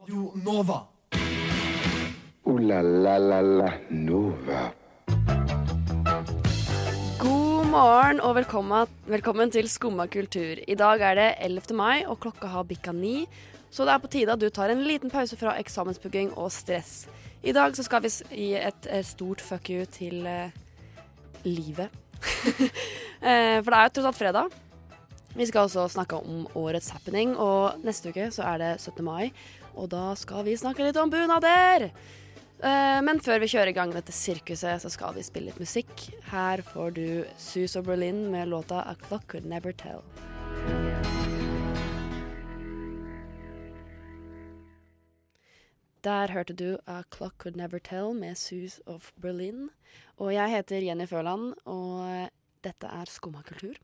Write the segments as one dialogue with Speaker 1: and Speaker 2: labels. Speaker 1: Radio Nova.
Speaker 2: Ooh la la la la Nova.
Speaker 3: God morgen og velkommen, velkommen til Skumma kultur. I dag er det 11. mai, og klokka har bikka ni. Så det er på tide at du tar en liten pause fra eksamenspugging og stress. I dag så skal vi s- gi et eh, stort fuck you til eh, livet. Eh, For det er jo tross alt fredag. Vi skal også snakke om årets happening, og neste uke så er det 17. mai. Og da skal vi snakke litt om bunader! Eh, Men før vi kjører i gang dette sirkuset, så skal vi spille litt musikk. Her får du Suso Berlin med låta A Clock Could Never Tell. Der hørte du A Clock Could Never Tell med Sus of Berlin. Og jeg heter Jenny Førland, og dette er Skumma kultur.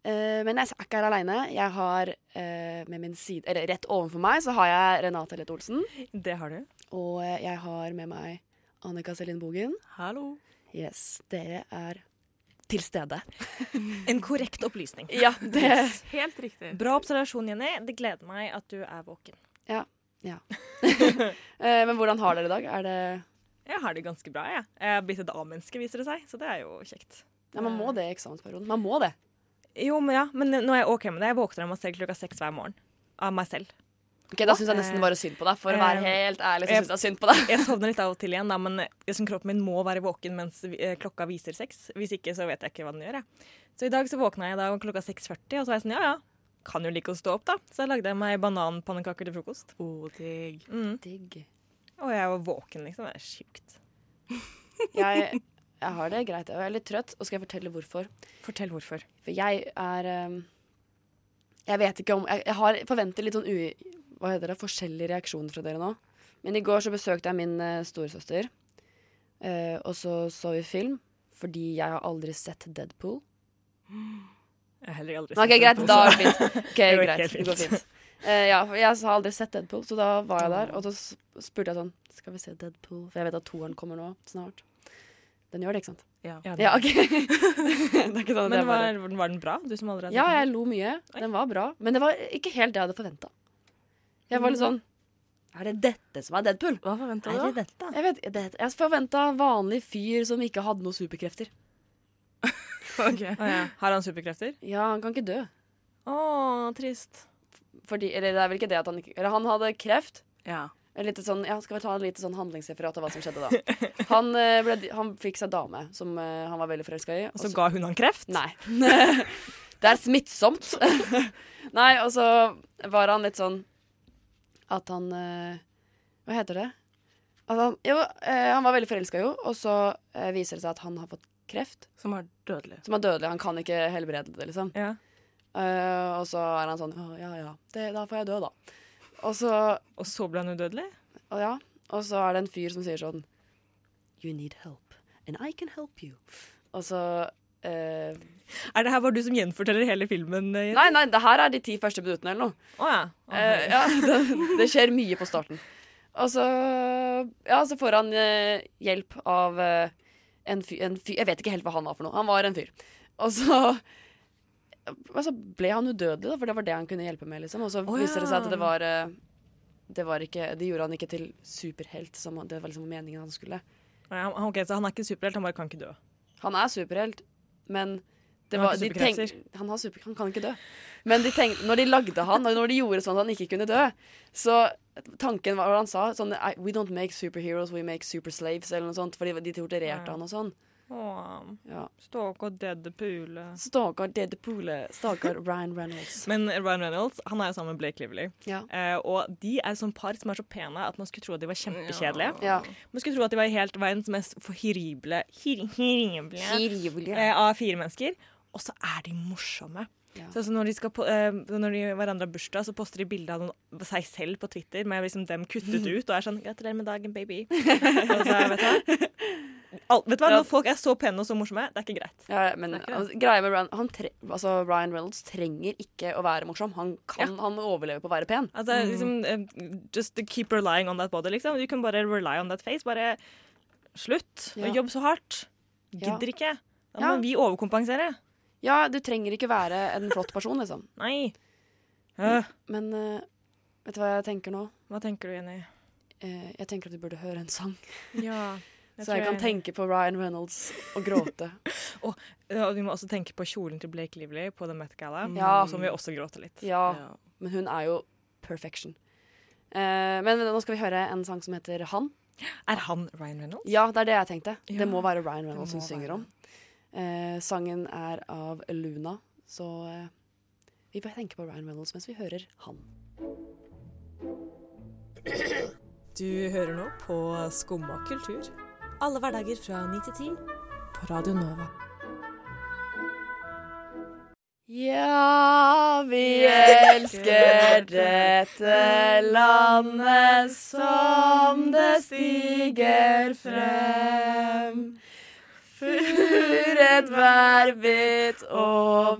Speaker 3: Eh, men jeg er ikke her aleine. Jeg har eh, med min side, eller rett ovenfor meg så har jeg Renate Lett Olsen.
Speaker 4: Det har du.
Speaker 3: Og eh, jeg har med meg Annika Selin Bogen.
Speaker 4: Hallo.
Speaker 3: Yes, dere er til stede.
Speaker 4: En korrekt opplysning.
Speaker 3: Ja, det
Speaker 5: Helt riktig.
Speaker 4: Bra observasjon, Jenny. Det gleder meg at du er våken.
Speaker 3: Eh, Men hvordan har dere i dag? Er det
Speaker 4: Jeg har det ganske bra, jeg. Jeg har blitt et A-menneske, viser det seg, så det er jo kjekt.
Speaker 3: Ja, man må det i eksamensperioden. Man må det.
Speaker 4: Jo, men ja, men nå er jeg ok med det. Jeg våkner av meg selv klokka seks hver morgen. Av meg selv.
Speaker 3: Ok, Da syns jeg nesten bare synd på deg. For å være
Speaker 4: Eh,
Speaker 3: helt ærlig, så
Speaker 4: eh,
Speaker 3: syns jeg synd på deg.
Speaker 4: Jeg sovner litt av og til igjen, da, men liksom kroppen min må være våken mens vi- eh, klokka viser seks. Hvis ikke, så vet jeg ikke hva den gjør. Jeg. Så i dag så våkna jeg da klokka 6.40, og så var jeg sånn, ja ja, kan jo like å stå opp, da. Så jeg lagde meg bananpannekaker til frokost.
Speaker 5: Odig.
Speaker 4: Mm.
Speaker 3: Digg.
Speaker 4: Og jeg var våken, liksom. Det er sjukt.
Speaker 3: Jeg, jeg har det greit. Jeg er litt trøtt, og skal jeg fortelle hvorfor.
Speaker 4: Fortell hvorfor.
Speaker 3: For jeg er ehm, Jeg vet ikke om Jeg, jeg har forventer litt sånn u... Hva heter det? Forskjellige reaksjoner fra dere nå. Men i går så besøkte jeg min eh, storesøster, eh, og så så vi film. Fordi jeg har aldri sett Deadpool.
Speaker 4: Jeg har heller aldri
Speaker 3: Ok,
Speaker 4: sett
Speaker 3: greit,
Speaker 4: Deadpool,
Speaker 3: da
Speaker 4: så-
Speaker 3: er det fint. Ok,
Speaker 4: Det går
Speaker 3: greit,
Speaker 4: helt
Speaker 3: det går
Speaker 4: fint.
Speaker 3: fint. Eh, ja, for jeg har aldri sett Deadpool, så da var jeg der. Og så s- spurte jeg sånn Skal vi se Deadpool? For jeg vet at toeren kommer nå snart. Den gjør det, ikke sant?
Speaker 5: Ja.
Speaker 4: Ja, det-
Speaker 3: Ja, OK. det er ikke sånn at
Speaker 4: Men
Speaker 3: jeg bare
Speaker 4: var, var den bra, du som aldri har
Speaker 3: Ja,
Speaker 4: sett den?
Speaker 3: jeg lo mye. Den var bra. Men det var ikke helt det jeg hadde forventa. Jeg var litt sånn Er det dette som er Deadpool?
Speaker 5: Hva forventa du? da?
Speaker 4: dette?
Speaker 3: Jeg vet, det, jeg forventa vanlig fyr som ikke hadde noen superkrefter.
Speaker 5: Ok.
Speaker 4: Å, ja. Har han superkrefter?
Speaker 3: Ja, han kan ikke dø.
Speaker 4: Å, trist.
Speaker 3: Fordi, eller det er vel ikke det at han ikke Eller han hadde kreft.
Speaker 5: Ja.
Speaker 3: Et lite sånn, ja, skal vi ta et lite sånn handlingsreferat av hva som skjedde da? Han, eh, ble, han fikk seg dame som eh, han var veldig forelska i. og
Speaker 4: Og så
Speaker 3: så-
Speaker 4: ga hun han kreft?
Speaker 3: Nei. det er smittsomt. Nei, og så var han litt sånn at han eh, Hva heter det? At han, jo, eh, han var veldig forelska, jo, og så eh, viser det seg at han har fått kreft.
Speaker 5: Som er dødelig.
Speaker 3: Som er dødelig. Han kan ikke helbrede det, liksom.
Speaker 4: Ja.
Speaker 3: Eh, og så er han sånn «Å, Ja, ja, det, da får jeg dø, da. Og så
Speaker 4: Og så ble han udødelig?
Speaker 3: Og ja, og så er det en fyr som sier sånn You need help, and I can help you. Og så eh,
Speaker 4: Er det her bare du som gjenforteller hele filmen? eh, Jenny?
Speaker 3: Nei, nei, det her er de ti første minuttene eller noe.
Speaker 4: Å ja. Å,
Speaker 3: Eh, ja, det, det skjer mye på starten. Og så, ja, så får han eh, hjelp av eh, en, fyr, en fyr Jeg vet ikke helt hva han var for noe. Han var en fyr. Og så og så ble han udødelig, da, for det var det han kunne hjelpe med. Liksom. Og så
Speaker 4: Å,
Speaker 3: viste det seg
Speaker 4: ja.
Speaker 3: at det var, eh, det var ikke, De gjorde han ikke til superhelt, som han- det var liksom meningen han skulle.
Speaker 4: Å, ja. Ok, Så han er ikke superhelt, han bare kan ikke dø.
Speaker 3: Han er superhelt, men det
Speaker 4: Han har
Speaker 3: var, de
Speaker 4: ikke
Speaker 3: tenk, han, har super, han kan ikke dø. Men de tenk, når de lagde han, og når de gjorde sånn at han ikke kunne dø, så tanken var hva han sa sånn «I- We don't make superheroes, we make superslaves, eller noe sånt. Fordi de torturerte
Speaker 4: Ja.
Speaker 3: han og sånn.
Speaker 4: Å,
Speaker 3: Ja.
Speaker 4: Ståke og Deadpool
Speaker 3: Stakkar Deadpool, stakkar Ryan Reynolds.
Speaker 4: Men Ryan Reynolds han er jo sammen med Blake Lively.
Speaker 3: Ja.
Speaker 4: Eh, og de er sånn par som er så pene at man skulle tro at de var kjempekjedelige.
Speaker 3: Ja.
Speaker 4: Man skulle tro at de var helt verdens mest horrible, hir hirible
Speaker 3: Kirjevlige.
Speaker 4: eh, av fire mennesker. Og så er de morsomme.
Speaker 3: Ja.
Speaker 4: Så altså når, de skal, po- eh, når de hverandre har bursdag, så poster de bilde av noen, seg selv på Twitter med liksom dem kuttet ut og er sånn 'Gratulerer med dagen, baby'. og så, vet du hva? Al- vet du hva?
Speaker 3: Ja.
Speaker 4: Når folk er så pene og så morsomme, det er ikke greit.
Speaker 3: Ja, men altså, greia med Ryan, han tre, altså, Ryan Reynolds trenger ikke å være morsom. Han kan han overleve på å være pen.
Speaker 4: Altså, liksom, eh, just to keep relying on that body, liksom. Du kan bare rely on that face. Bare slutt
Speaker 3: Ja.
Speaker 4: å jobbe så hardt.
Speaker 3: Ja.
Speaker 4: Gidder ikke. Da
Speaker 3: Ja.
Speaker 4: må vi overkompensere.
Speaker 3: Ja, du trenger ikke være en flott person, liksom.
Speaker 4: Nei. Øh.
Speaker 3: Men eh, Vet du hva jeg tenker nå?
Speaker 4: Hva tenker du, Jenny?
Speaker 3: Eh, jeg tenker at du burde høre en sang.
Speaker 4: Ja,
Speaker 3: så jeg kan tenke på Ryan Reynolds og gråte.
Speaker 4: Ja, og vi må også tenke på kjolen til Blake Lively på The Met Gala,
Speaker 3: Ja.
Speaker 4: som vi også gråter litt.
Speaker 3: Mm. ja,
Speaker 5: Ja.
Speaker 3: men hun er jo perfection. Eh, men nå skal vi høre en sang som heter Han.
Speaker 4: Er han Ryan Reynolds?
Speaker 3: Ja, det er det jeg tenkte.
Speaker 4: Ja,
Speaker 3: Det må være Ryan Reynolds
Speaker 4: må
Speaker 3: hun synger
Speaker 4: være
Speaker 3: om. Eh, sangen er av Luna, så eh, vi bare tenker på Ryan Reynolds mens vi hører Han.
Speaker 1: Du hører nå på Skumma kultur. Alle hverdager fra 9 til 10 på Radio Nova.
Speaker 3: Ja, vi elsker dette landet som det stiger frem. Furet værbitt over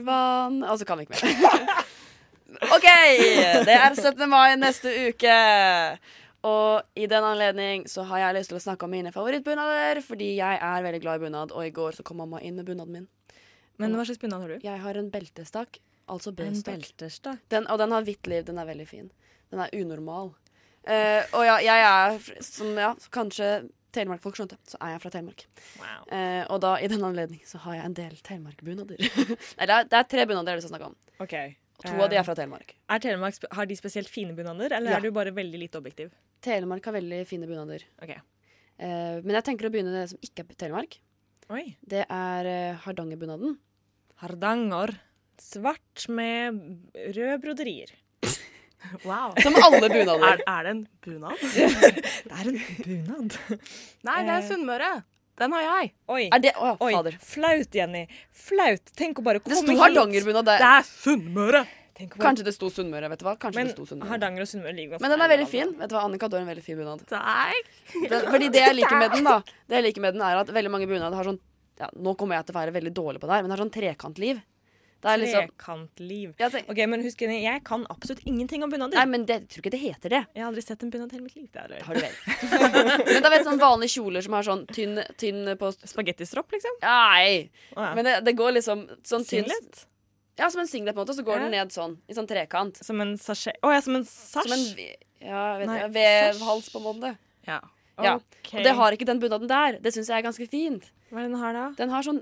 Speaker 3: vann Og så kan vi ikke mer. OK! Det er 17. mai neste uke. Og i den anledning så har jeg lyst til å snakke om mine favorittbunader, fordi jeg er veldig glad i bunad, og i går så kom mamma inn med bunaden min.
Speaker 4: Men hva slags bunad har du?
Speaker 3: Jeg har en beltestakk, altså
Speaker 4: En
Speaker 3: B-stakk.
Speaker 4: beltestakk.
Speaker 3: Den, og den har hvitt liv, den er veldig fin. Den er unormal. Eh, og ja, jeg er, fr- som ja, kanskje telemarkfolk skjønte, så er jeg fra Telemark.
Speaker 4: Wow.
Speaker 3: Eh, og da, i den anledning, så har jeg en del telemarkbunader. Nei, det er, det er tre bunader jeg har lyst til å snakke om.
Speaker 4: Ok. Eh,
Speaker 3: Og to av de er fra Telemark.
Speaker 4: Er Telemark, sp- har de spesielt fine bunader, eller
Speaker 3: Ja.
Speaker 4: er du bare veldig lite objektiv?
Speaker 3: Telemark har veldig fine bunader.
Speaker 4: Ok.
Speaker 3: Eh, men jeg tenker å begynne med det som ikke er Telemark.
Speaker 4: Oi.
Speaker 3: Det er eh, Hardangerbunaden.
Speaker 4: Hardanger. Svart med røde broderier.
Speaker 5: Wow.
Speaker 3: Som alle bunader.
Speaker 5: Er, er det en bunad?
Speaker 4: Det er en bunad.
Speaker 5: Nei, det er
Speaker 3: Eh.
Speaker 5: Sunnmøre. Den har jeg.
Speaker 4: Oi.
Speaker 3: er det Å ja,
Speaker 4: Oi.
Speaker 3: fader.
Speaker 4: Flaut, Jenny. Flaut. Tenk å bare komme
Speaker 3: Det
Speaker 4: hit.
Speaker 3: sto Hardangerbunad der.
Speaker 5: Det er Sunnmøre!
Speaker 4: Tenk å bare...
Speaker 3: Kanskje det sto Sunnmøre, vet du hva. Kanskje
Speaker 4: Men
Speaker 3: det sto Sunnmøre.
Speaker 4: Hardanger og Sunnmøre ligger ganske
Speaker 3: Men den er
Speaker 4: nærme
Speaker 3: veldig fin.
Speaker 4: hverandre.
Speaker 3: Vet du hva, Annika, du har en veldig fin bunad.
Speaker 5: Takk.
Speaker 3: Den, fordi det jeg liker med den, da, det jeg liker med den er at veldig mange bunader har sånn ja, Nå kommer jeg til å være veldig dårlig på det her, men det har sånn trekantliv. Det er liksom
Speaker 4: Trekantliv.
Speaker 3: jeg tenker,
Speaker 4: sånn- Ok, men husk, Jenny, jeg kan absolutt ingenting om bunader.
Speaker 3: Nei, men det, jeg tror ikke det heter det.
Speaker 4: Jeg har aldri sett en bunad i hele mitt liv. Det er
Speaker 3: Har du vel. men da vet du sånn vanlige kjoler som har sånn tynn, tynn på
Speaker 4: Spagettistropp, liksom.
Speaker 3: Nei!
Speaker 4: Å, ja.
Speaker 3: Men det, det går liksom sånn tynn
Speaker 4: Singlet?
Speaker 3: Ja, som en singlet, på en måte, så går den ned sånn. I sånn trekant.
Speaker 4: Som en sasje... Å ja, som en sasj?
Speaker 3: Som en ve- ja, jeg vet,
Speaker 4: Nei,
Speaker 3: ja, vevhals, på en måte.
Speaker 5: Ja.
Speaker 3: Ja.
Speaker 4: Ok.
Speaker 3: Og det har ikke den bunaden der. Det syns jeg er ganske fint.
Speaker 4: Hva er det den har, da?
Speaker 3: Den har sånn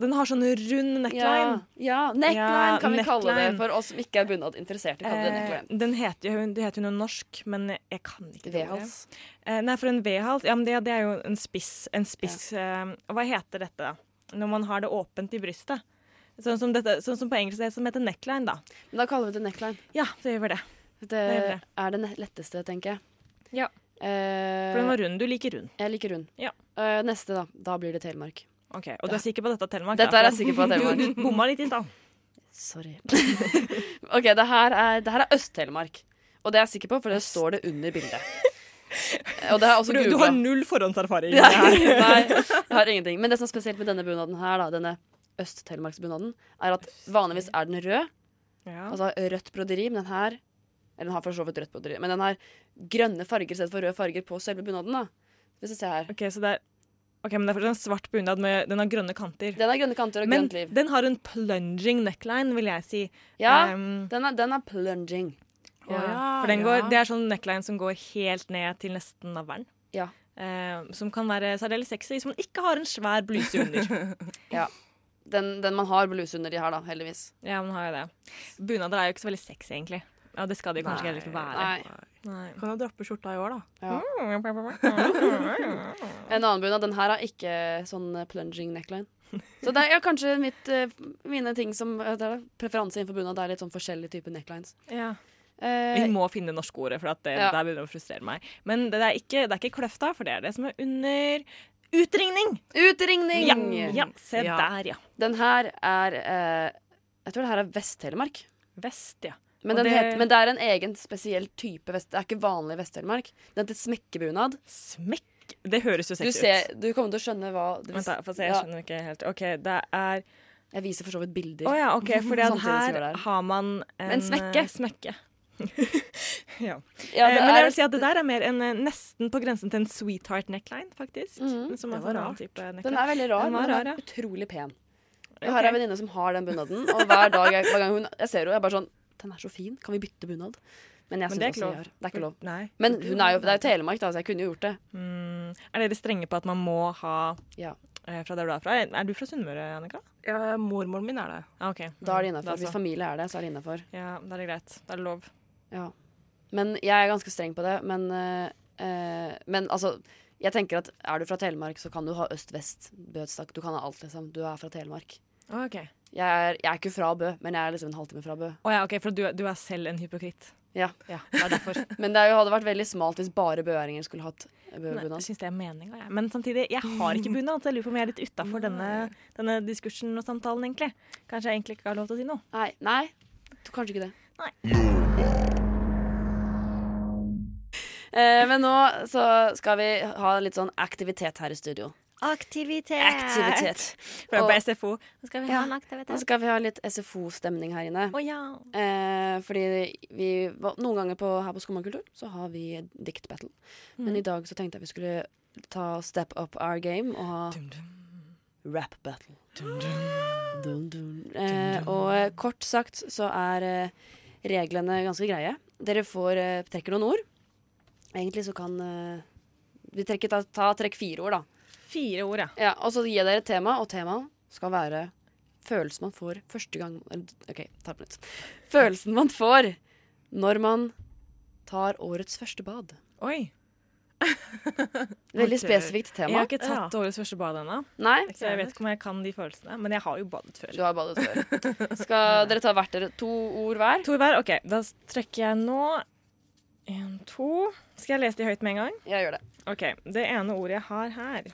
Speaker 4: Den har sånn rund neckline.
Speaker 3: Ja, ja neckline
Speaker 4: Ja,
Speaker 3: kan vi kalle det
Speaker 4: neckline.
Speaker 3: for oss som ikke er bunad interessert i å kalle det
Speaker 4: Eh,
Speaker 3: neckline.
Speaker 4: den heter jo det heter jo noe norsk, men jeg kan ikke det ordet.
Speaker 3: V-hals.
Speaker 4: Eh, nei, for en V-hals ja, men det, det er jo en spiss, en spiss eh, Hva heter dette da? når man har det åpent i brystet? Sånn som, dette, sånn som på engelsk det som heter neckline, da.
Speaker 3: Men da kaller vi det neckline.
Speaker 4: Ja, det gjør vi det.
Speaker 3: Det
Speaker 4: gjør vi.
Speaker 3: er det ne- letteste, tenker jeg.
Speaker 4: Ja.
Speaker 3: Eh,
Speaker 4: For den var rund. Du liker rund.
Speaker 3: jeg liker rund.
Speaker 4: Ja.
Speaker 3: Eh, neste, da. Da blir det Telemark.
Speaker 4: Ok, Og du er sikker på dette, Telemark?
Speaker 3: Dette
Speaker 4: da?
Speaker 3: er jeg sikker på at Telemark.
Speaker 4: Du, du bomma litt i stad.
Speaker 3: Sorry. OK, det her er, det her er Øst-Telemark. Og det er jeg sikker på, for det står det under bildet. Og det har jeg også
Speaker 4: Du, du
Speaker 3: googla.
Speaker 4: har null forhåndserfaring.
Speaker 3: Nei,
Speaker 4: her.
Speaker 3: nei, jeg har ingenting. Men det som er spesielt med denne bunaden her, da, denne Øst-Telemarksbunaden, er at vanligvis er den rød.
Speaker 4: Ja.
Speaker 3: Altså rødt broderi, men den her Eller den har for så vidt rødt broderi, men den har grønne farger i stedet for røde farger på selve bunaden. da Hvis du ser her.
Speaker 4: Ok, så det er Ok, men det er fortsatt en svart bunad med den har grønne kanter.
Speaker 3: Den har grønne kanter og
Speaker 4: Men
Speaker 3: grønt liv.
Speaker 4: den har en plunging neckline, vil jeg si.
Speaker 3: Ja,
Speaker 4: Ehm,
Speaker 3: den er, den er plunging.
Speaker 5: Å ja,
Speaker 4: For den går,
Speaker 5: ja.
Speaker 4: Det er sånn neckline som går helt ned til nesten navlen.
Speaker 3: Ja.
Speaker 4: Ehm, som kan være særdeles sexy hvis man ikke har en svær bluse under.
Speaker 3: Den, den man har bluse under de her, da, heldigvis.
Speaker 4: ja, man har jo det. Bunader er jo ikke så veldig sexy, egentlig. Ja, det skal de kanskje
Speaker 5: Nei.
Speaker 4: heller ikke være.
Speaker 3: Nei.
Speaker 4: Nei.
Speaker 5: Kan jo droppe skjorta i år, da.
Speaker 3: Ja. En annen bunad. Den her har ikke sånn eh, plunging neckline. Så det er ja, kanskje mitt, eh, mine ting som eh, det er da, Preferanse innenfor bunad er litt sånn forskjellige typer necklines.
Speaker 4: Ja. Vi
Speaker 3: Eh,
Speaker 4: må finne det norske ordet, for at det,
Speaker 3: Ja.
Speaker 4: det her begynner å frustrere meg. Men det er, ikke, det er ikke kløfta, for det er det som er under utringning.
Speaker 3: utringning!
Speaker 4: Ja, ja se
Speaker 5: Ja.
Speaker 4: der, ja.
Speaker 3: Den her er eh, Jeg tror det her er Vest-Telemark.
Speaker 4: Vest, ja.
Speaker 3: Men,
Speaker 4: Og
Speaker 3: den
Speaker 4: det-
Speaker 3: heter, men det er en egen spesiell type vest. Det er ikke vanlig Vest-Telemark. Den heter smekkebunad.
Speaker 4: Smekk. Det høres jo
Speaker 3: Du,
Speaker 4: sexy
Speaker 3: ser,
Speaker 4: ut.
Speaker 3: du kommer til å skjønne hva det
Speaker 4: Vent da, få se, jeg
Speaker 3: ja,
Speaker 4: skjønner ikke helt. OK, det er
Speaker 3: jeg viser for så vidt bilder.
Speaker 4: Å ja, OK, for
Speaker 3: Samtidig som vi
Speaker 4: her
Speaker 3: gjør Sånn det her.
Speaker 4: har man en,
Speaker 3: En smekke.
Speaker 4: eh, smekke. ja.
Speaker 3: Ja,
Speaker 4: Eh,
Speaker 3: det
Speaker 4: Men
Speaker 3: er-
Speaker 4: jeg vil si at det der er mer en eh, nesten på grensen til en sweetheart neckline, faktisk.
Speaker 3: Mhm.
Speaker 4: Som er
Speaker 5: Det var
Speaker 4: en annen
Speaker 5: rart.
Speaker 4: type
Speaker 3: den
Speaker 4: neckline.
Speaker 3: er veldig rar,
Speaker 4: Den var
Speaker 3: men den er
Speaker 4: rar, ja.
Speaker 3: utrolig pen. Jeg
Speaker 4: Ok.
Speaker 3: har ei venninne som har den bunaden, og hver dag jeg, hver gang hun, jeg ser henne, jeg er bare sånn den er så fin, kan vi bytte bunad? Men jeg synes
Speaker 4: Men det er
Speaker 3: også
Speaker 4: ikke
Speaker 3: jeg
Speaker 4: lov.
Speaker 3: gjør. Det er ikke lov.
Speaker 4: Nei.
Speaker 3: Men hun er jo, det er jo Telemark, da, så jeg kunne jo gjort det.
Speaker 4: Mm, er dere strenge på at man må ha
Speaker 3: Ja.
Speaker 4: eh, fra der du er fra? Er du fra Sunnmøre, Annika?
Speaker 5: Ja, mormoren min er det.
Speaker 4: Ah, ok. Mm,
Speaker 3: Da er det innafor.
Speaker 4: så-
Speaker 3: Hvis familie er det, så er det innafor.
Speaker 4: Ja, da er det greit. Da er det lov.
Speaker 3: Ja. Men jeg er ganske streng på det. Men, eh, eh, men altså jeg tenker at Er du fra Telemark, så kan du ha øst-vest. Bødstakk. Du kan ha alt, liksom. Du er fra Telemark.
Speaker 4: Ah, ok.
Speaker 3: Jeg er, jeg er ikke fra Bø, men jeg er liksom en halvtime fra Bø.
Speaker 4: Å ja, ok, For du, du er selv en hypokritt?
Speaker 3: Ja.
Speaker 4: Ja, det er derfor.
Speaker 3: Men det er jo, hadde vært veldig smalt hvis bare bøæringer skulle hatt
Speaker 4: Nei,
Speaker 3: bøbunad.
Speaker 4: Jeg syns det er meninga, jeg. Men samtidig, jeg har ikke bunad, så jeg lurer på om jeg er litt utafor denne, denne diskursen og samtalen, egentlig. Kanskje jeg egentlig ikke har lov til å si noe.
Speaker 3: Nei, nei, du- kanskje ikke det.
Speaker 4: Nei.
Speaker 3: Eh, men nå så skal vi ha litt sånn aktivitet her i studio.
Speaker 4: Aktivitet!
Speaker 3: Aktivitet.
Speaker 4: Fra
Speaker 3: Og-
Speaker 4: på SFO. Nå skal vi
Speaker 3: Ja.
Speaker 4: ha en
Speaker 3: Nå
Speaker 4: aktivitet.
Speaker 3: skal vi ha litt SFO-stemning her inne.
Speaker 4: Å ja.
Speaker 3: Eh, fordi vi var, Noen ganger på, her på Skummakultur så har vi diktbattle. Men i dag så tenkte jeg vi skulle ta step up our game og ha rap battle. Dun, dun. Eh, og kort sagt så er eh, reglene ganske greie. Dere får eh, trekker noen ord. Egentlig så kan eh, Vi trekker ta, ta trekk fire ord, da.
Speaker 4: Fire ord, ja.
Speaker 3: Ja, og så gir dere et tema, og temaet skal være følelsen man får første gang OK, ta på nytt. Følelsen man får når man tar årets første bad.
Speaker 4: Oi.
Speaker 3: Veldig
Speaker 5: Ok.
Speaker 3: spesifikt
Speaker 4: Jeg
Speaker 3: tema.
Speaker 4: har ikke tatt årets første bad ennå,
Speaker 3: Nei?
Speaker 4: så jeg vet ikke om jeg kan de følelsene. Men jeg har jo badet før.
Speaker 3: Du har badet før. Skal dere ta hvert dere to ord hver?
Speaker 4: To hver. OK, da trykker jeg nå. En, to. Skal jeg lese de høyt med en gang?
Speaker 3: Jeg gjør det.
Speaker 4: OK. Det ene ordet jeg har her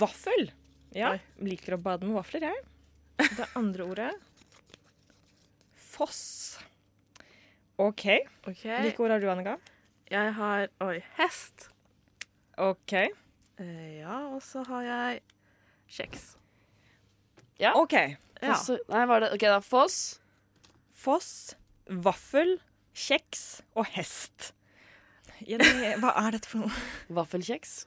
Speaker 4: Vaffel. Ja, liker å bade med vafler, jeg. Det andre ordet Foss. OK.
Speaker 5: Ok.
Speaker 4: Hvilke ord har du, Annika?
Speaker 5: Jeg har Oi, hest.
Speaker 4: OK.
Speaker 5: Eh, ja, og så har jeg kjeks.
Speaker 4: OK.
Speaker 5: Ja.
Speaker 3: Foss, nei, var det, ok, da Foss.
Speaker 4: Foss, vaffel, kjeks og hest. Jenny, hva er dette for noe?
Speaker 3: Vaffelkjeks.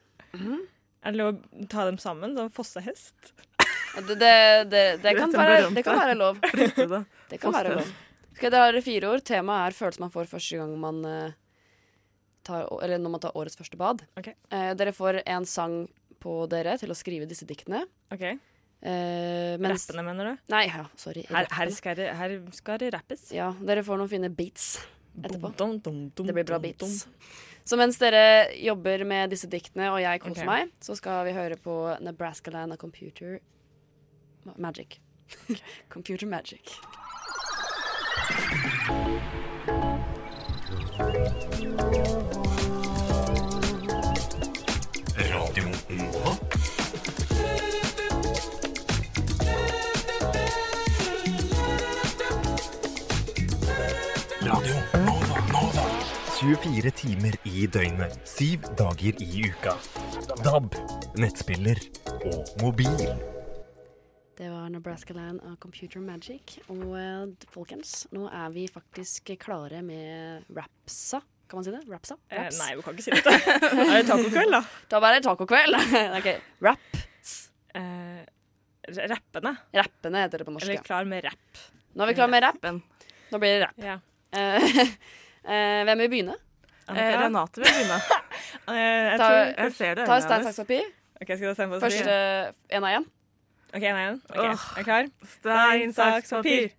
Speaker 4: Er det lov å ta dem sammen? Så fossehest?
Speaker 3: Det, det, det, det, kan
Speaker 5: den
Speaker 3: være,
Speaker 5: berømte.
Speaker 3: det kan være lov.
Speaker 5: Brukte det.
Speaker 3: Det kan være lov. Skal dere ha fire ord? Temaet er følelsen man får første gang man eh, tar, å- eller når man tar årets første bad.
Speaker 4: Ok.
Speaker 3: Eh, dere får en sang på dere til å skrive disse diktene.
Speaker 4: OK.
Speaker 3: Eh, mens,
Speaker 4: Rappene, mener du?
Speaker 3: nei, ja, sorry.
Speaker 4: Her, her,
Speaker 3: rappen.
Speaker 4: skal, det, her skal det rappes.
Speaker 3: Ja, dere får noen fine beats etterpå.
Speaker 4: Dum, dum, dum,
Speaker 3: Det blir bra
Speaker 4: dum,
Speaker 3: beats.
Speaker 4: dum.
Speaker 3: Så mens dere jobber med disse diktene, og jeg koser
Speaker 4: Ok.
Speaker 3: meg, så skal vi høre på Nebraska Land of Computer Ma- Magic. computer Magic.
Speaker 6: Radio Nova. Radio Nova, Nova. 24 timer i døgnet, 7 dager i uka. DAB, nettspiller og mobil.
Speaker 3: Det var Nebraska Land av Computer Magic. Og eh, d- folkens, nå er vi faktisk klare med rapsa. Kan man si det? Rapsa?
Speaker 4: Eh,
Speaker 3: Raps.
Speaker 4: nei, vi kan ikke si dette. er det tacokveld, da?
Speaker 3: Da var det tacokveld. Ok, Rap.
Speaker 4: Eh, r- rappene.
Speaker 3: Rappene heter det på norsk.
Speaker 4: Eller
Speaker 3: ja.
Speaker 4: klar med rapp.
Speaker 3: Nå er vi klare med rapp.
Speaker 5: Ben.
Speaker 3: Nå blir det rapp.
Speaker 4: Ja.
Speaker 3: Eh, eh, hvem vil begynne?
Speaker 5: Eh,
Speaker 4: Annika?
Speaker 5: Renate vil begynne.
Speaker 4: Eh, jeg
Speaker 3: Ta,
Speaker 4: tror
Speaker 5: Jeg ser
Speaker 3: ta
Speaker 5: det. i øynene
Speaker 3: stein,
Speaker 5: hennes.
Speaker 3: saks, papir.
Speaker 4: OK, skal du stemme på
Speaker 3: Første én av én.
Speaker 4: OK, nei, nei. Ok, Er du klar?
Speaker 5: Stein, saks, papir.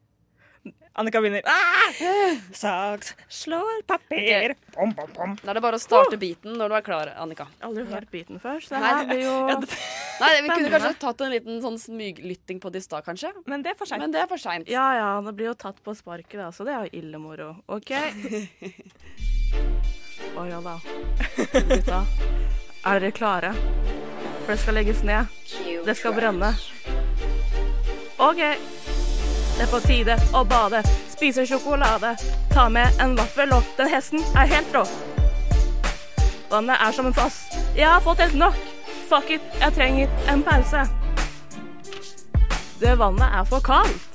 Speaker 4: Annika begynner. Ah! Saks slår papir. Bom, bom, bom.
Speaker 3: Da er det bare å starte beaten når du er klar, Annika.
Speaker 5: Aldri hørt beaten før, så det
Speaker 3: Nei,
Speaker 5: her blir jo
Speaker 3: Nei, Vi kunne kanskje tatt en liten sånn smyglytting på det i stad, kanskje.
Speaker 4: Men det er for seint.
Speaker 3: Men det er for seint.
Speaker 5: Ja ja, det blir jo tatt på sparket, da, så det er jo ille moro. OK. Å ja da. Gutta, er dere klare? For det skal legges ned. Det skal brenne. OK. Det er på tide å bade. Spise sjokolade. Ta med en vaffel og Den hesten er helt rå. Vannet er som en foss. Jeg har fått helt nok. Fuck it, jeg trenger en pause. Det vannet er for kaldt.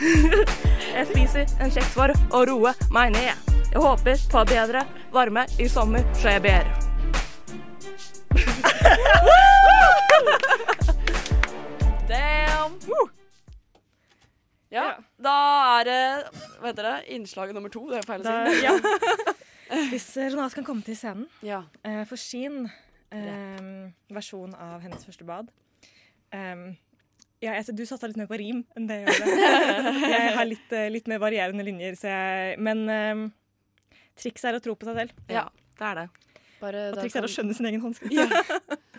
Speaker 5: jeg spiser en kjeks for å roe meg ned. Jeg håper på bedre varme i sommer, så jeg ber.
Speaker 3: Damn! Ja. Da er det Hva heter det? Innslag nummer to. Det er feil å
Speaker 4: Da,
Speaker 3: si.
Speaker 4: ja. Hvis Renate kan komme til scenen
Speaker 3: Ja.
Speaker 4: eh, for sin eh, versjon av hennes første bad. Em, ja, jeg, ser- du satsa litt mer på rim enn det jeg gjorde. Jeg har litt, eh, litt mer varierende linjer, så jeg, men em, trikset er å tro på seg selv.
Speaker 3: ja.
Speaker 5: Det er det.
Speaker 3: Bare
Speaker 4: Og
Speaker 3: da
Speaker 4: trikset er å
Speaker 3: kan-
Speaker 4: skjønne sin egen håndskrift.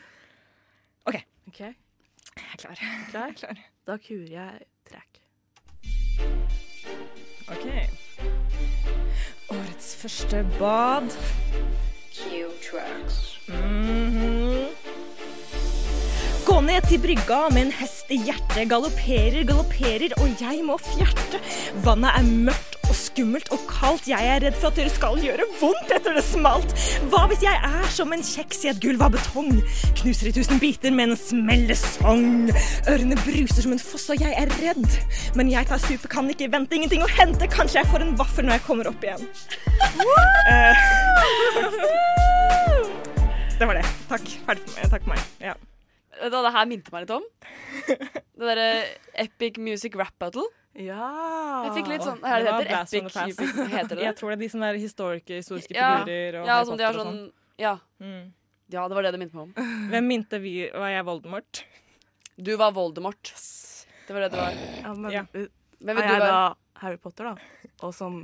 Speaker 5: Ok,
Speaker 4: Jeg er klar.
Speaker 5: klar?
Speaker 4: Jeg er klar.
Speaker 5: Da kurer jeg trekk.
Speaker 4: Ok. Årets første bad. Mhm. Gå ned til brygga med en hest i hjertet. Galopperer, galopperer, og jeg må fjerte. Vannet er mørkt og skummelt og kaldt. Jeg er redd for at dere skal gjøre vondt etter det smalt. Hva hvis jeg er som en kjeks i et gulv av betong? Knuser i tusen biter med en smellesong. Ørene bruser som en foss, og jeg er redd. Men jeg tar stupet, kan ikke vente. Ingenting å hente. Kanskje jeg får en vaffel når jeg kommer opp igjen. Eh. Det var det. Takk. Ferdig for meg. Takk for meg. Ja.
Speaker 3: Vet du hva det her minte meg litt om? Det derre Epic Music Rap Battle.
Speaker 5: Ja.
Speaker 3: Jeg fikk litt sånn
Speaker 4: Åh,
Speaker 3: Hva
Speaker 4: det var
Speaker 3: heter
Speaker 4: Blast
Speaker 3: det?
Speaker 4: from the
Speaker 3: Epic
Speaker 4: Past.
Speaker 3: Music- Heter det
Speaker 4: Jeg tror det er de som er historiske, historiske
Speaker 3: Ja.
Speaker 4: figurer.
Speaker 3: det?
Speaker 4: Og
Speaker 3: Ja,
Speaker 4: Harry
Speaker 3: som de har
Speaker 4: Potter og
Speaker 3: sånn Ja.
Speaker 4: Mm.
Speaker 3: Ja, det var det det minte meg om.
Speaker 4: Hvem minte vi Var jeg Voldemort?
Speaker 3: Du var Voldemort. Det var det det var.
Speaker 5: Ja, men,
Speaker 4: Ja.
Speaker 5: uh,
Speaker 3: Hvem
Speaker 5: Er
Speaker 3: vil du
Speaker 5: jeg
Speaker 3: være?
Speaker 5: da Harry Potter, da? Og som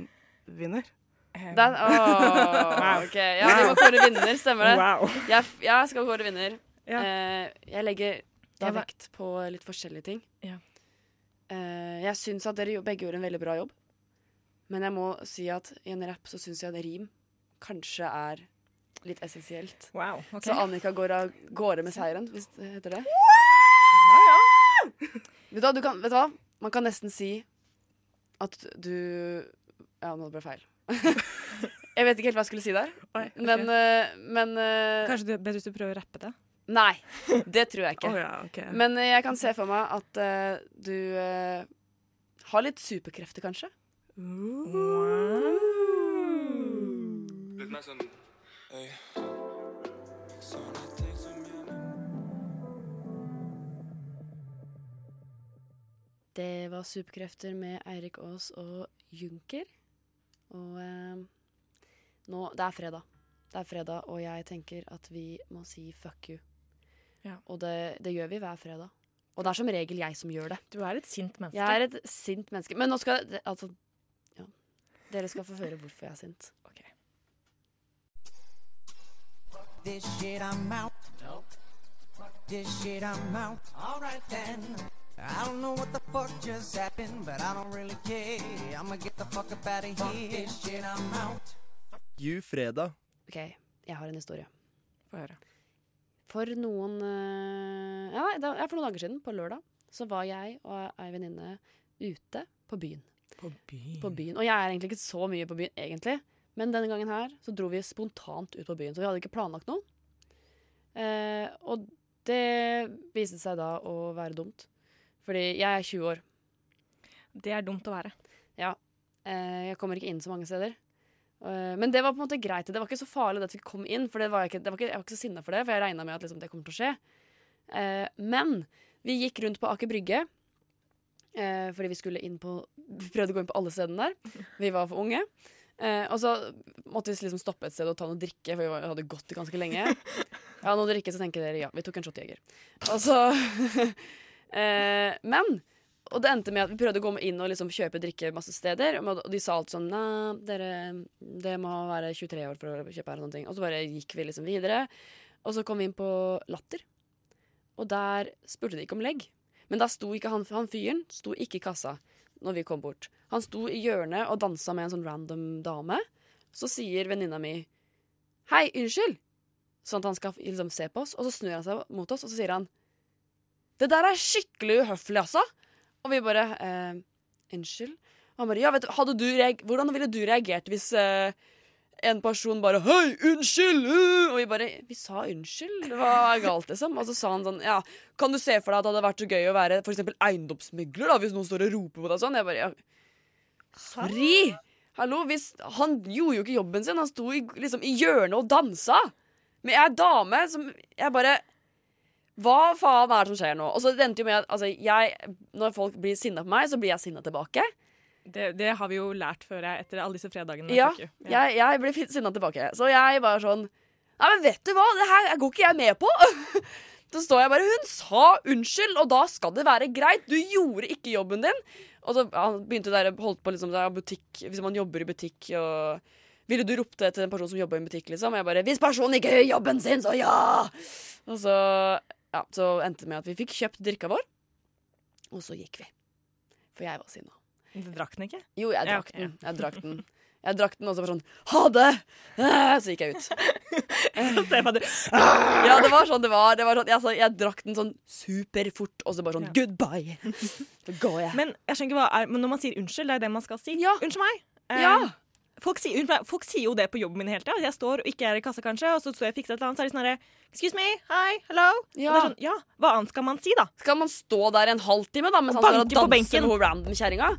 Speaker 5: vinner?
Speaker 3: Den, åh, ok. Ja, vi må kåre vinner, stemmer det?
Speaker 4: Wow.
Speaker 3: Jeg, jeg skal kåre vinner.
Speaker 4: Ja.
Speaker 3: Eh, jeg legger da
Speaker 4: Jeg var-
Speaker 3: vekt på litt forskjellige ting.
Speaker 4: Ja.
Speaker 3: Eh, jeg syns at dere jo- begge gjorde en veldig bra jobb, men jeg må si at i en rapp så syns jeg at rim kanskje er litt essensielt.
Speaker 4: Wow. ok.
Speaker 3: Så Annika går av gårde med seieren, hvis det heter det. Vet du, hva, du kan, vet du hva? Man kan nesten si at du Ja, nå ble det feil. jeg vet ikke helt hva jeg skulle si der,
Speaker 5: Oi, ok.
Speaker 3: men, eh, men eh,
Speaker 4: Kanskje du bedre hvis du prøver å rappe det?
Speaker 3: Nei, det tror jeg ikke.
Speaker 5: Å ja, OK.
Speaker 3: Men eh, jeg kan se for meg at eh, du eh, har litt superkrefter, kanskje.
Speaker 7: Litt mer sånn Øy. Sånne ting som gjør meg
Speaker 3: Det var Superkrefter med Eirik Aas og Junker. Og eh, nå Det er fredag. Det er fredag, og jeg tenker at vi må si fuck you.
Speaker 4: Ja.
Speaker 3: Og det, det gjør vi hver fredag. Og det er som regel jeg som gjør det.
Speaker 4: Du er et sint menneske.
Speaker 3: Jeg er et sint menneske. Men nå skal det- Altså, ja. Dere skal få høre hvorfor jeg er sint.
Speaker 8: this shit, I'm out. Fuck this shit, I'm out. Alright then. I don't know what the fuck just happened, but I don't really care. I'ma get the fuck up out of here. this shit, I'm out.
Speaker 9: You fredag.
Speaker 3: OK, jeg har en historie.
Speaker 4: Få høre.
Speaker 3: For noen eh, ja, nei, da, ja, For noen dager siden, på lørdag, så var jeg og ei venninne ute på byen.
Speaker 4: På byen.
Speaker 3: På byen. Og jeg er egentlig ikke så mye på byen, egentlig. Men denne gangen her så dro vi spontant ut på byen. Så vi hadde ikke planlagt noe. Eh, og det viste seg da å være dumt. Fordi jeg er 20 år.
Speaker 4: Det er dumt å være.
Speaker 3: Eh, jeg kommer ikke inn så mange steder. Eh, men det var på en måte greit. Det var ikke så farlig det at vi kom inn, for det var jeg, ikke, det var ikke, jeg var ikke så sinna for det, for jeg regna med at liksom, det kommer til å skje. Eh, men vi gikk rundt på Aker Brygge. eh, fordi vi skulle inn på Vi prøvde å gå inn på alle stedene der. Vi var for unge. Eh, og så måtte vi liksom stoppe et sted og ta noe drikke, for vi var, hadde gått ganske lenge. Ja, noe drikke, så tenker dere ja. Vi tok en shotjeger. Og så eh, Men og det endte med at vi prøvde å gå inn og liksom kjøpe drikke masse steder. Og de sa alt sånn Nei, dere det må være 23 år for å kjøpe her. Og sånne ting. Og så bare gikk vi liksom videre. Og så kom vi inn på Latter. Og der spurte de ikke om legg. Men da sto ikke han, han fyren sto ikke i kassa når vi kom bort. Han sto i hjørnet og dansa med en sånn random dame. Så sier venninna mi Hei, unnskyld! Sånn at han skal liksom se på oss. Og så snur han seg mot oss, og så sier han Det der er skikkelig uhøflig, altså! Og vi bare eh, Unnskyld? Og han bare Ja, vet du, hadde du reag hvordan ville du reagert hvis eh, en person bare Hei, unnskyld! Uh! Og vi bare Vi sa unnskyld? Hva er galt, liksom? Og så sa han sånn Ja, kan du se for deg at det hadde vært så gøy å være for eksempel eiendomsmegler, da, hvis noen står og roper på deg sånn? Jeg bare ja, Sorry! Hallo, hvis Han gjorde jo ikke jobben sin. Han sto i, liksom i hjørnet og dansa. Men jeg er dame som Jeg bare Hva faen er det som skjer nå? Og så det endte jo med at altså, jeg Når folk blir sinna på meg, så blir jeg sinna tilbake.
Speaker 4: Det, det har vi jo lært før jeg, etter alle disse fredagene.
Speaker 3: Ja,
Speaker 4: Torkil. ja.
Speaker 3: jeg, jeg ble fin- sinna tilbake. Så jeg var sånn Nei, men vet du hva, det her går ikke jeg med på! Så står jeg bare Hun sa unnskyld, og da skal det være greit! Du gjorde ikke jobben din! Og så ja, begynte det der, holdt på liksom der, butikk Hvis man jobber i butikk og Ville du ropt det til en person som jobber i en butikk, liksom? Og jeg bare Hvis personen ikke gjør jobben sin, så ja! Og så ja, så endte det med at vi fikk kjøpt drikka vår, og så gikk vi. For jeg var sinna.
Speaker 4: Det drakk den ikke.
Speaker 3: Jo, jeg
Speaker 4: Ja,
Speaker 3: drakk
Speaker 4: ok, ja.
Speaker 3: den. Jeg drakk den. Jeg drakk den, og så var det sånn Ha det! Eh, Så gikk jeg ut.
Speaker 4: Se på det.
Speaker 3: Ja, det var sånn det var. Det var sånn, jeg, sa- jeg drakk den sånn superfort, og så bare sånn
Speaker 4: Ja.
Speaker 3: goodbye. Så går jeg.
Speaker 4: Men jeg skjønner ikke hva er, men når man sier unnskyld, det er det man skal si.
Speaker 3: Ja.
Speaker 4: Unnskyld meg. Eh,
Speaker 3: ja!
Speaker 4: Folk sier, unnskyld meg, folk sier jo det på jobben min hele tida. Jeg står og ikke er i kassa, kanskje, og så står jeg og fikser et eller annet, så er de sånn herre Excuse me, hi, hello. Og det
Speaker 3: Ja.
Speaker 4: er sånn, ja, hva annet skal man si, da?
Speaker 3: Skal man stå der en halvtime, da, mens
Speaker 4: Og
Speaker 3: han står og
Speaker 4: banke
Speaker 3: danser
Speaker 4: på benken.
Speaker 3: med hun random-kjerringa?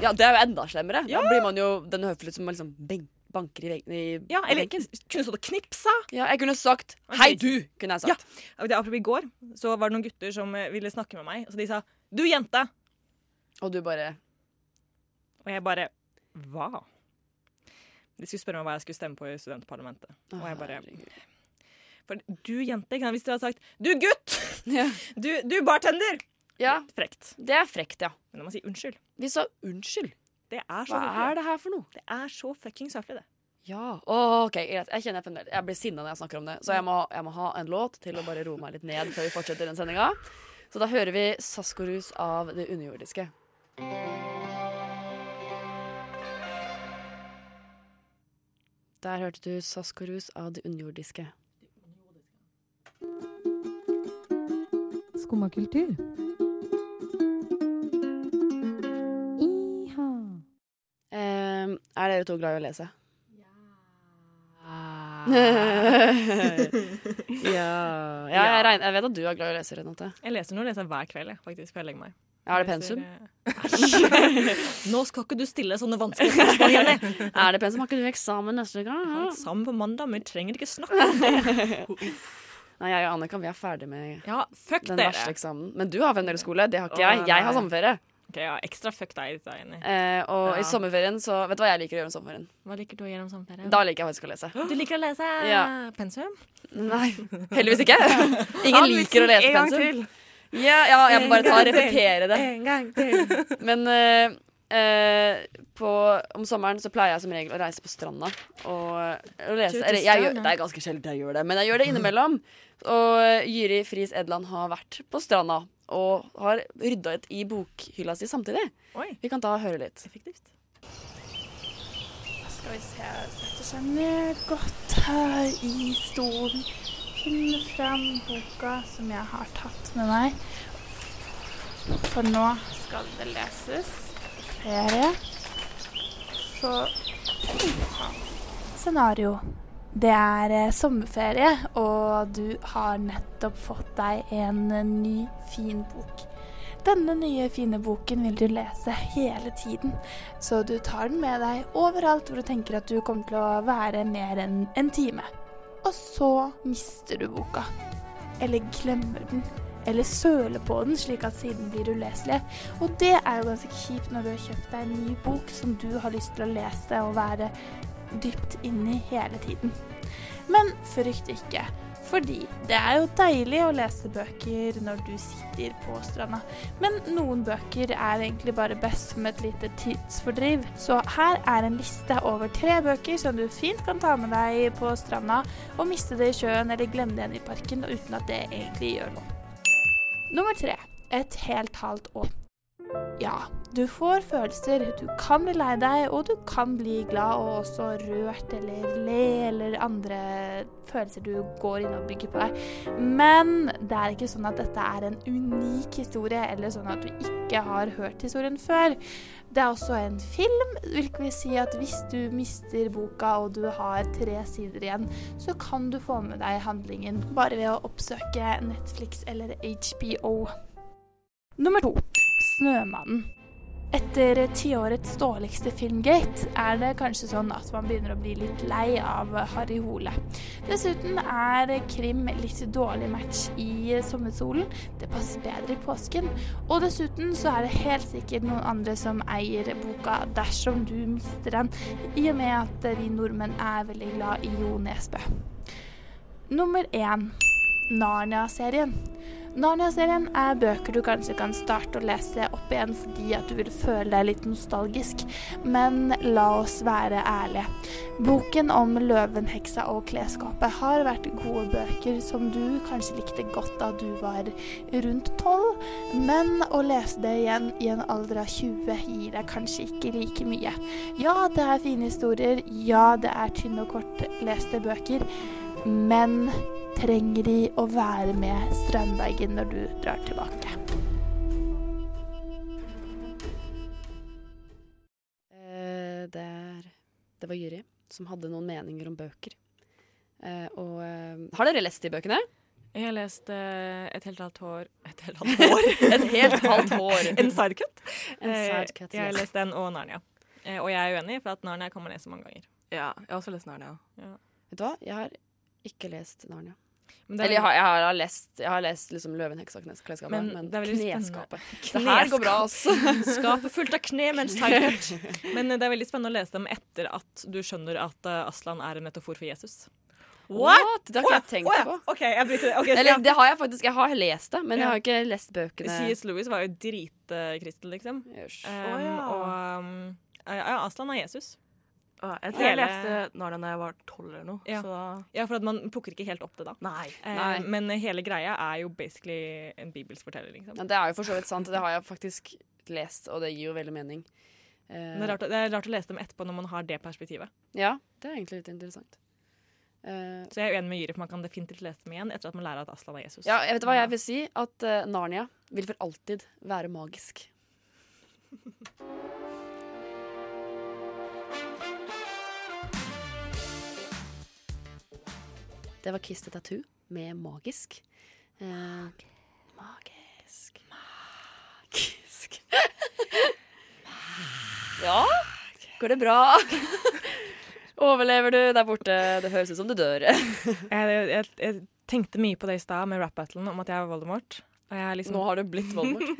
Speaker 3: Ja, det er jo enda slemmere.
Speaker 4: Ja.
Speaker 3: Da blir man jo den høflige som liksom ben- banker i, veggen- i
Speaker 4: Ja, eller
Speaker 3: benken.
Speaker 4: kunne stått og knipsa.
Speaker 3: Ja, jeg kunne sagt 'hei, du', kunne jeg sagt.
Speaker 4: Ja. Og det- Apropos i går, så var det noen gutter som eh, ville snakke med meg, så de sa 'du, jente'.
Speaker 3: Og du bare
Speaker 4: Og jeg bare Hva? De skulle spørre meg hva jeg skulle stemme på i studentparlamentet. Og jeg bare For du, jente, ikke sant? hvis du hadde sagt 'du, gutt',
Speaker 3: ja.
Speaker 4: du, du bartender
Speaker 3: ja,
Speaker 4: Frekt.
Speaker 3: det er frekt, ja.
Speaker 4: Men når man sier unnskyld
Speaker 3: Vi sa unnskyld.
Speaker 4: Det er så
Speaker 3: Hva
Speaker 4: høflig.
Speaker 3: er det her for noe?
Speaker 4: Det er så fuckings høflig, det.
Speaker 3: Ja. Åh, ok, greit. Jeg kjenner jeg fremdeles Jeg blir sinna når jeg snakker om det, så jeg må, jeg må ha en låt til å bare roe meg litt ned før vi fortsetter den sendinga. Så da hører vi Saskorus av Det underjordiske. Der hørte du Saskorus av Det underjordiske.
Speaker 10: Skumma kultur. Iha.
Speaker 3: Eh, er dere to glad i å lese? ja. ja jeg, regner, jeg vet at du er glad i å lese, Renate.
Speaker 4: Jeg leser nå leser jeg hver kveld, jeg, faktisk, før jeg legger meg.
Speaker 3: Er det pensum?
Speaker 4: Nå skal ikke du stille sånne vanskelige spørsmål, Jenny.
Speaker 3: Er det pensum? Har ikke du eksamen neste uke?
Speaker 4: Ta det Sammen på mandag, men vi trenger ikke snakke om det.
Speaker 3: Nei, jeg og Annika vi er ferdig med
Speaker 4: Ja, fuck
Speaker 3: den verste
Speaker 4: dere.
Speaker 3: eksamen. Men du har fremdeles skole. Det har
Speaker 4: Å,
Speaker 3: ikke jeg. Jeg har
Speaker 4: nei.
Speaker 3: sommerferie.
Speaker 4: Ok, ja, ekstra fuck deg, da, Jenny.
Speaker 3: Eh, og
Speaker 4: Ja.
Speaker 3: i sommerferien så Vet du hva jeg liker å gjøre om sommerferien?
Speaker 4: Hva liker du å gjøre om sommerferien?
Speaker 3: Da liker jeg faktisk å lese.
Speaker 4: Du liker å lese
Speaker 3: Ja.
Speaker 4: pensum?
Speaker 3: Nei, heldigvis ikke. Ingen liker å lese
Speaker 5: En gang
Speaker 3: pensum.
Speaker 5: til.
Speaker 3: Ja, ja, jeg må bare ta
Speaker 4: En gang til.
Speaker 3: repetere det.
Speaker 4: En gang til.
Speaker 3: Men eh, eh, på, om sommeren så pleier jeg som regel å reise på stranda og, og lese.
Speaker 4: Tur til
Speaker 3: Eller, jeg gjør,
Speaker 4: stranda.
Speaker 3: det er ganske sjelden jeg gjør det, men jeg gjør det innimellom. Og eh, Jyri Friis Edland har vært på stranda og har rydda ut i bokhylla si samtidig.
Speaker 4: Oi,
Speaker 3: Vi kan ta og høre litt.
Speaker 4: effektivt.
Speaker 10: Skal vi se Sette seg ned godt her i stolen. Finne fram boka som jeg har tatt med meg. For nå skal det leses flere. Så Scenario. Det er eh, sommerferie, og du har nettopp fått deg en eh, ny, fin bok. Denne nye, fine boken vil du lese hele tiden. Så du tar den med deg overalt hvor du tenker at du kommer til å være mer enn en time. Og så mister du boka. Eller glemmer den. Eller søler på den, slik at siden blir uleselig. Og det er jo ganske kjipt når du har kjøpt deg en ny bok som du har lyst til å lese og være dypt inni hele tiden. Men frykt ikke, fordi det er jo deilig å lese bøker når du sitter på stranda. Men noen bøker er egentlig bare best som et lite tidsfordriv. Så her er en liste over tre bøker som du fint kan ta med deg på stranda og miste det i sjøen eller glemme det igjen i parken uten at det egentlig gjør noe. Nummer tre. Et helt halvt år. Ja, du får følelser. Du kan bli lei deg, og du kan bli glad og også rørt eller le eller andre følelser du går inn og bygger på deg. Men det er ikke sånn at dette er en unik historie, eller sånn at du ikke har hørt historien før. Det er også en film, hvilket vil si at hvis du mister boka og du har tre sider igjen, så kan du få med deg handlingen bare ved å oppsøke Netflix eller HBO. Nummer to. Snømannen. Etter tiårets dårligste filmgate er det kanskje sånn at man begynner å bli litt lei av Harry Hole. Dessuten er krim litt dårlig match i sommersolen. Det passer bedre i påsken. Og dessuten så er det helt sikkert noen andre som eier boka dersom du mister den, i og med at vi nordmenn er veldig glad i Jo Nesbø. Nummer én Narnia-serien. Narnia-serien er bøker du kanskje kan starte å lese opp igjen fordi at du vil føle deg litt nostalgisk, men la oss være ærlige. Boken om løven, heksa og klesskapet har vært gode bøker som du kanskje likte godt da du var rundt tolv, men å lese det igjen i en alder av 20 gir deg kanskje ikke like mye. Ja, det er fine historier, ja, det er tynne og kortleste bøker, men trenger de å være med Strandbergen når du drar tilbake.
Speaker 3: Eh, det, er, det var Jyri som hadde noen meninger om bøker. Eh, og eh, har dere lest de bøkene?
Speaker 4: Jeg har lest eh, Et helt halvt hår Et helt halvt hår?
Speaker 3: Et helt halvt hår.
Speaker 4: en sidecut.
Speaker 3: En side cut,
Speaker 4: Eh, jeg har
Speaker 3: yes.
Speaker 4: lest den og Narnia. Eh, og jeg er uenig, for at Narnia kan man lese mange ganger.
Speaker 5: Ja, jeg har også lest Narnia.
Speaker 3: Vet du hva, jeg har ikke lest Narnia.
Speaker 4: Men det er-
Speaker 3: Eller jeg har, jeg har lest, jeg har lest liksom Løven, heksa, knes, klesskapet, men,
Speaker 4: Men det er veldig spennende.
Speaker 3: kneskapet. Det her går bra, altså. ass.
Speaker 4: Skapet fullt av kne med en sidecut. Men eh, det er veldig spennende å lese dem etter at du skjønner at eh, Aslan er en metafor for Jesus.
Speaker 3: What? Det har ikke jeg tenkt
Speaker 4: Å ja,
Speaker 3: på.
Speaker 4: OK, jeg bryter det. Ok, så
Speaker 3: Eller
Speaker 4: ja.
Speaker 3: det har jeg faktisk. Jeg har lest det, men jeg
Speaker 4: Ja.
Speaker 3: har ikke lest bøkene.
Speaker 4: C.S. Lewis var jo dritkristen, liksom.
Speaker 3: Yes.
Speaker 4: Um,
Speaker 5: Å, ja.
Speaker 4: Og um, ja, Aslan er Jesus.
Speaker 5: Å, Jeg tror jeg
Speaker 4: Hele-
Speaker 5: leste Narnia da jeg var tolv eller noe.
Speaker 4: Ja.
Speaker 5: Så da
Speaker 4: Ja, for at man plukker ikke helt opp det da.
Speaker 5: Nei.
Speaker 4: Eh,
Speaker 3: Nei.
Speaker 4: Men hele greia er jo basically en bibelsk fortelling, liksom.
Speaker 3: Ja, det er jo for så vidt sant. Det har jeg faktisk lest, og det gir jo veldig mening. Eh,
Speaker 4: Men Det er, rart, å- det er rart å lese dem etterpå når man har det perspektivet.
Speaker 3: Eh, Ja, det er egentlig litt interessant. Eh,
Speaker 4: Så jeg er uenig med Jyri, for man kan definitivt lese dem igjen etter at man lærer at Aslan er Jesus.
Speaker 3: ja, jeg vet hva jeg vil si? At eh, Narnia vil for alltid være magisk. Det var Kiss the Tattoo med Magisk. Eh, magisk. Magisk. Ja, går det bra? Overlever du der borte? Det høres ut som du dør.
Speaker 4: Jeg, jeg, jeg tenkte mye på det i stad med rap-battlen om at jeg var Voldemort. Og jeg er liksom
Speaker 3: Nå har du blitt Voldemort.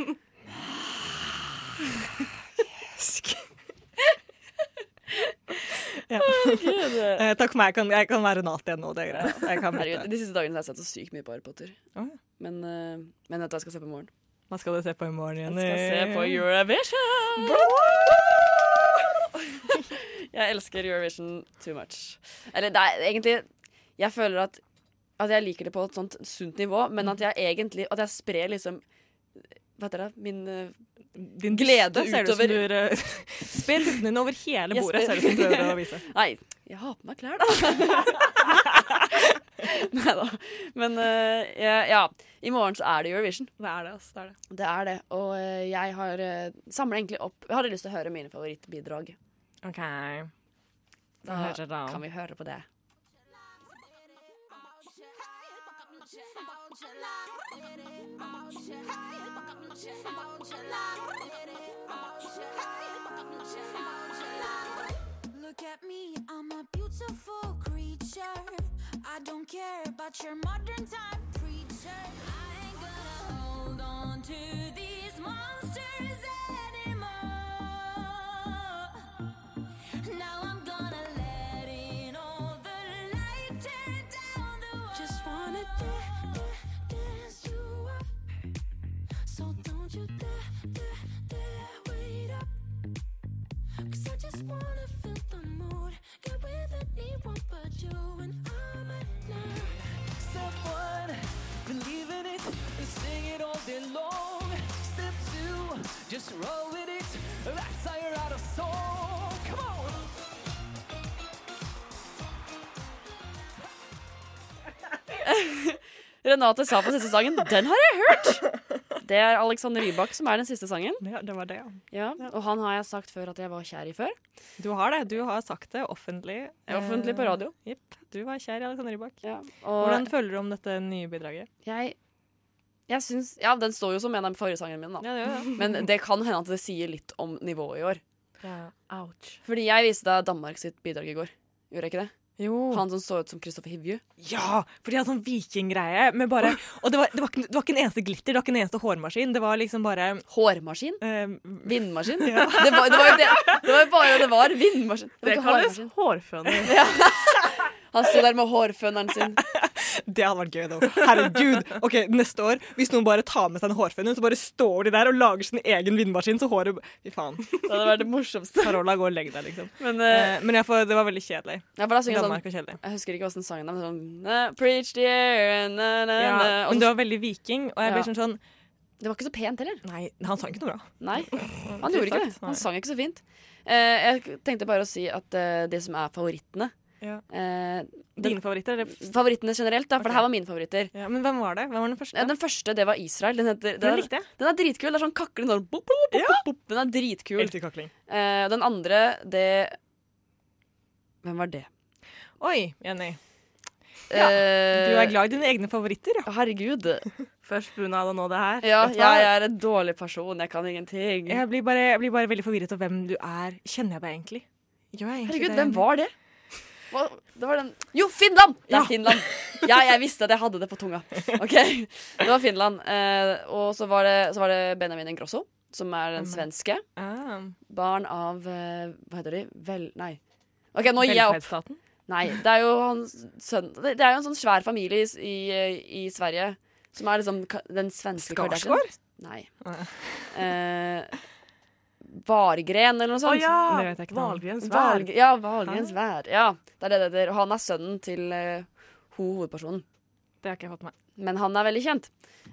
Speaker 4: ja. Eh, Takk for meg. Jeg kan, jeg kan være Nat igjen nå. Det er greit. Jeg kan
Speaker 3: Herregud,
Speaker 4: bytte.
Speaker 3: De siste dagene har jeg sett så sykt mye på Harry Potter.
Speaker 4: Å, ja.
Speaker 3: Men, eh, men dette skal jeg se på i morgen.
Speaker 4: Hva skal du se på i morgen,
Speaker 3: Jeg
Speaker 4: Jenny?
Speaker 3: skal se på Eurovision! jeg elsker Eurovision too much. Eller det er egentlig Jeg føler at, at jeg liker det på et sånt sunt nivå, men at jeg egentlig At jeg sprer liksom Hva heter det? Min eh,
Speaker 4: Din
Speaker 3: Glede
Speaker 4: dyste ser
Speaker 3: utover-
Speaker 4: du som du eh, Spill lugnen din over
Speaker 3: Jeg
Speaker 4: hele bordet,
Speaker 3: spør-
Speaker 4: ser du som du prøver å vise.
Speaker 3: Nei, jeg har på meg klær, da. Nei da. Men eh, jeg- ja. I morgen så er det Eurovision.
Speaker 4: Det er det, altså. Det er det.
Speaker 3: Det er det. Og eh, jeg har uh, samla egentlig opp Jeg hadde lyst til å høre mine favorittbidrag.
Speaker 4: OK.
Speaker 3: Da
Speaker 4: hører da.
Speaker 3: kan vi høre på det.
Speaker 11: Look at me, I'm a beautiful creature. I don't care about your modern time preacher. I ain't gonna hold on to these monsters anymore. Now I'm gonna let in all the light, tear down the world. Just wanna da- da- dance you up. So don't you dare, dare, dare wait up. Cause I just wanna feel the mood. Get with anyone but you and I'm alone.
Speaker 8: Step one, believe in it and sing it all day long. Step two, just roll with it. That's how you're out of song. Come on!
Speaker 3: Renate sa på siste sangen 'Den har jeg hørt'! Det er Alexander Rybak som er den siste sangen.
Speaker 4: Ja, det var det, ja.
Speaker 3: Ja, Og han har jeg sagt før at jeg var kjær i før.
Speaker 4: Du har det. Du har sagt det offentlig. eh,
Speaker 3: Offentlig på radio.
Speaker 4: Jepp. Du var kjær i Alexander Rybak.
Speaker 3: Ja. Og
Speaker 4: Hvordan føler du om dette nye bidraget?
Speaker 3: jeg Jeg syns, ja, Den står jo som en av forrige min, da.
Speaker 4: Ja, det gjør det.
Speaker 3: Men det kan hende at det sier litt om nivået i år.
Speaker 4: Ouch.
Speaker 3: Fordi jeg viste deg Danmark sitt bidrag i går. Gjorde jeg ikke det?
Speaker 4: Jo.
Speaker 3: Han som så ut som Kristoffer Hivju.
Speaker 4: Ja, for de hadde sånn vikinggreie. med bare- Og det var, det, var ikke, det var ikke en eneste glitter, det var ikke en eneste hårmaskin. Det var liksom bare eh,
Speaker 3: Hårmaskin?
Speaker 4: Vindmaskin?
Speaker 3: Ja. Det, var, det var jo det. Det var jo bare det var. Vindmaskin. var
Speaker 4: Det
Speaker 3: ikke
Speaker 4: kalles
Speaker 3: hårmaskin.
Speaker 5: hårføner.
Speaker 3: Ja. Han sto der med hårføneren sin.
Speaker 4: Det hadde vært gøy, da. Herregud. Ok, Neste år, hvis noen bare tar med seg en hårføner, så bare står de der og lager sin egen vindmaskin, så håret Fy faen. Det
Speaker 3: hadde vært det morsomste.
Speaker 4: Carola, gå og legg deg, liksom.
Speaker 3: Men,
Speaker 4: Eh, men jeg får, det var veldig kjedelig.
Speaker 3: Ja, for da synger han
Speaker 4: Danmark var
Speaker 3: sånn,
Speaker 4: kjedelig.
Speaker 3: jeg husker ikke hvordan sangen er, men sånn "Na, Preach the air na, na,
Speaker 4: Ja,
Speaker 3: na. Og
Speaker 4: men
Speaker 3: så-
Speaker 4: det var veldig viking, og jeg
Speaker 3: eh, Ja.
Speaker 4: blir sånn sånn
Speaker 3: Det var ikke så pent heller.
Speaker 4: Nei, han sang ikke noe bra.
Speaker 3: Nei, han gjorde ikke det. Han sang ikke så fint. Eh, jeg tenkte bare å si at eh, det som er favorittene
Speaker 4: Ja.
Speaker 3: eh,
Speaker 4: Dine favoritter? eller-
Speaker 3: Favorittene generelt, da, for det her var mine favoritter.
Speaker 4: Ja, men hvem var det? Hvem var Den første,
Speaker 3: ja, den første, det var Israel. Den, heter,
Speaker 4: Den
Speaker 3: er-
Speaker 4: likte jeg.
Speaker 3: den er dritkul. Det er sånn kakling sånn bop, bop, bop, bop. Den er dritkul.
Speaker 4: Elsker kakling.
Speaker 3: Eh, den andre, det Hvem var det?
Speaker 4: Oi, Jenny. Ja,
Speaker 3: Eh,
Speaker 4: du er glad i dine egne favoritter, ja.
Speaker 3: Herregud.
Speaker 5: Først bunad og nå det her.
Speaker 3: Ja,
Speaker 5: Vet du hva?
Speaker 3: jeg er en dårlig person. Jeg kan ingenting.
Speaker 4: Jeg blir, bare, jeg blir bare veldig forvirret av hvem du er. Kjenner jeg deg egentlig? Gjør jeg egentlig
Speaker 3: Herregud,
Speaker 4: det?
Speaker 3: hvem var det? Hva, det var den Jo, Finland! Det er
Speaker 4: Ja.
Speaker 3: Finland. Ja, jeg visste at jeg hadde det på tunga. Ok, Det var Finland. Eh, og så var, det, så var det Benjamin Ingrosso, som er den svenske.
Speaker 4: Ah.
Speaker 3: Barn av eh, Hva heter de? Vel... Nei. Ok, nå gir jeg opp.
Speaker 4: Velferdsstaten?
Speaker 3: Nei, det er jo hans sønn Det det er jo en sånn svær familie i, s- i, eh, i Sverige som er liksom ka- den svenske Kardashian.
Speaker 4: Skarsgård?
Speaker 3: Nei. Eh, Vargren eller noe sånt.
Speaker 5: Å ja, Det vet jeg ikke noe om. Wahlgrens vær.
Speaker 3: Valg, ja, Valgrens vær. Ja, det er det det heter. Og han er sønnen til eh, ho, hovedpersonen.
Speaker 4: Det har ikke jeg fått med.
Speaker 3: Men han er veldig kjent.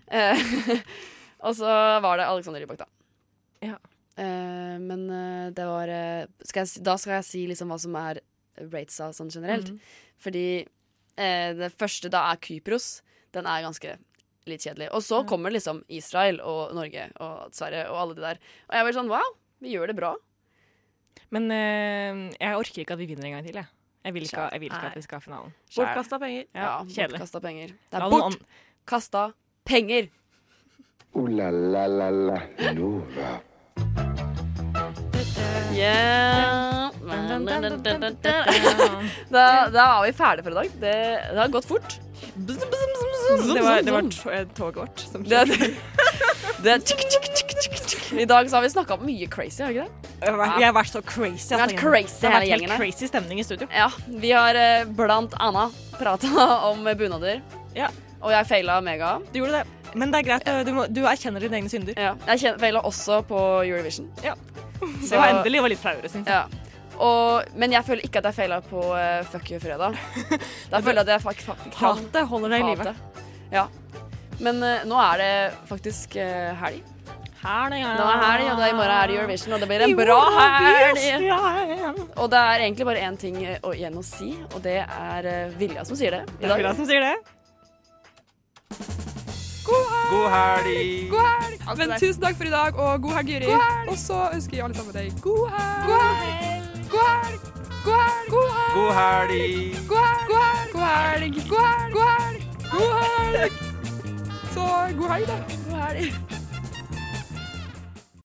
Speaker 3: Eh, og så var det Alexander Rybak, da.
Speaker 4: Ja.
Speaker 3: Eh, men eh, det var eh, skal jeg, si- Da skal jeg si liksom hva som er ratesa sånn generelt.
Speaker 4: Mhm.
Speaker 3: Fordi eh, det første da er Kypros. Den er ganske litt kjedelig. Og så kommer liksom Israel og Norge og Sverige og alle de der. Og jeg blir sånn wow, vi gjør det bra.
Speaker 4: Men eh, jeg orker ikke at vi vinner en gang til. Jeg, jeg, vil, ikke, jeg vil ikke at vi skal ha finalen.
Speaker 5: Bortkasta penger.
Speaker 4: Ja, kjedelig.
Speaker 3: bortkasta penger. Det
Speaker 4: La
Speaker 3: er
Speaker 4: dem an-
Speaker 3: bortkasta penger!
Speaker 2: Ooh la la la la Nova.
Speaker 3: Yeah. Da, da var vi ferdige for i dag. Det, det har gått fort.
Speaker 4: Det var, det var to- eh, toget vårt som
Speaker 3: Det, det, det er tikk, tikk, tikk, tikk, tikk. I dag så har vi snakka om mye crazy, har vi ikke det?
Speaker 4: Jeg har vært- jeg har vært så crazy.
Speaker 3: Vi har
Speaker 4: altså,
Speaker 3: vært
Speaker 4: gjengen.
Speaker 3: crazy,
Speaker 4: det har vært
Speaker 3: hele
Speaker 4: helt
Speaker 3: gjengen her.
Speaker 4: crazy stemning i studio.
Speaker 3: Ja, Vi har eh, blant annet prata om bunader. Og jeg feila mega.
Speaker 4: Du gjorde det. Men det er greit. Du, må, du erkjenner dine egne synder.
Speaker 3: Ja. Jeg kjen- feila også på Eurovision.
Speaker 4: Ja. Det var endelig det var litt flauere, syns jeg.
Speaker 3: Ja. Og, men jeg føler ikke at jeg feila på eh, Fuck you fredag. Da føler jeg at jeg fak- fa- fikk fram
Speaker 4: Hatet holder deg i live.
Speaker 3: hatet. Ja. Men eh, nå er det faktisk eh, helg.
Speaker 4: Helg, ja.
Speaker 3: Nå er helg, og da i morgen er det Eurovision, og det blir en
Speaker 4: Jo,
Speaker 3: bra
Speaker 4: det blir
Speaker 3: helg. Og det er egentlig bare én ting eh, å, igjen å si, og det er eh, Vilja som sier det. i
Speaker 4: Det er
Speaker 3: dag.
Speaker 4: Frida som sier det.
Speaker 12: God helg!
Speaker 13: God helg! Men tusen takk for i dag, og god helg, Juri. Og så ønsker vi alle sammen deg god helg! God helg! God helg! God helg! God helg!
Speaker 12: God helg!
Speaker 13: God helg! God helg! God helg! God helg! God helg! Så god helg, da. God helg.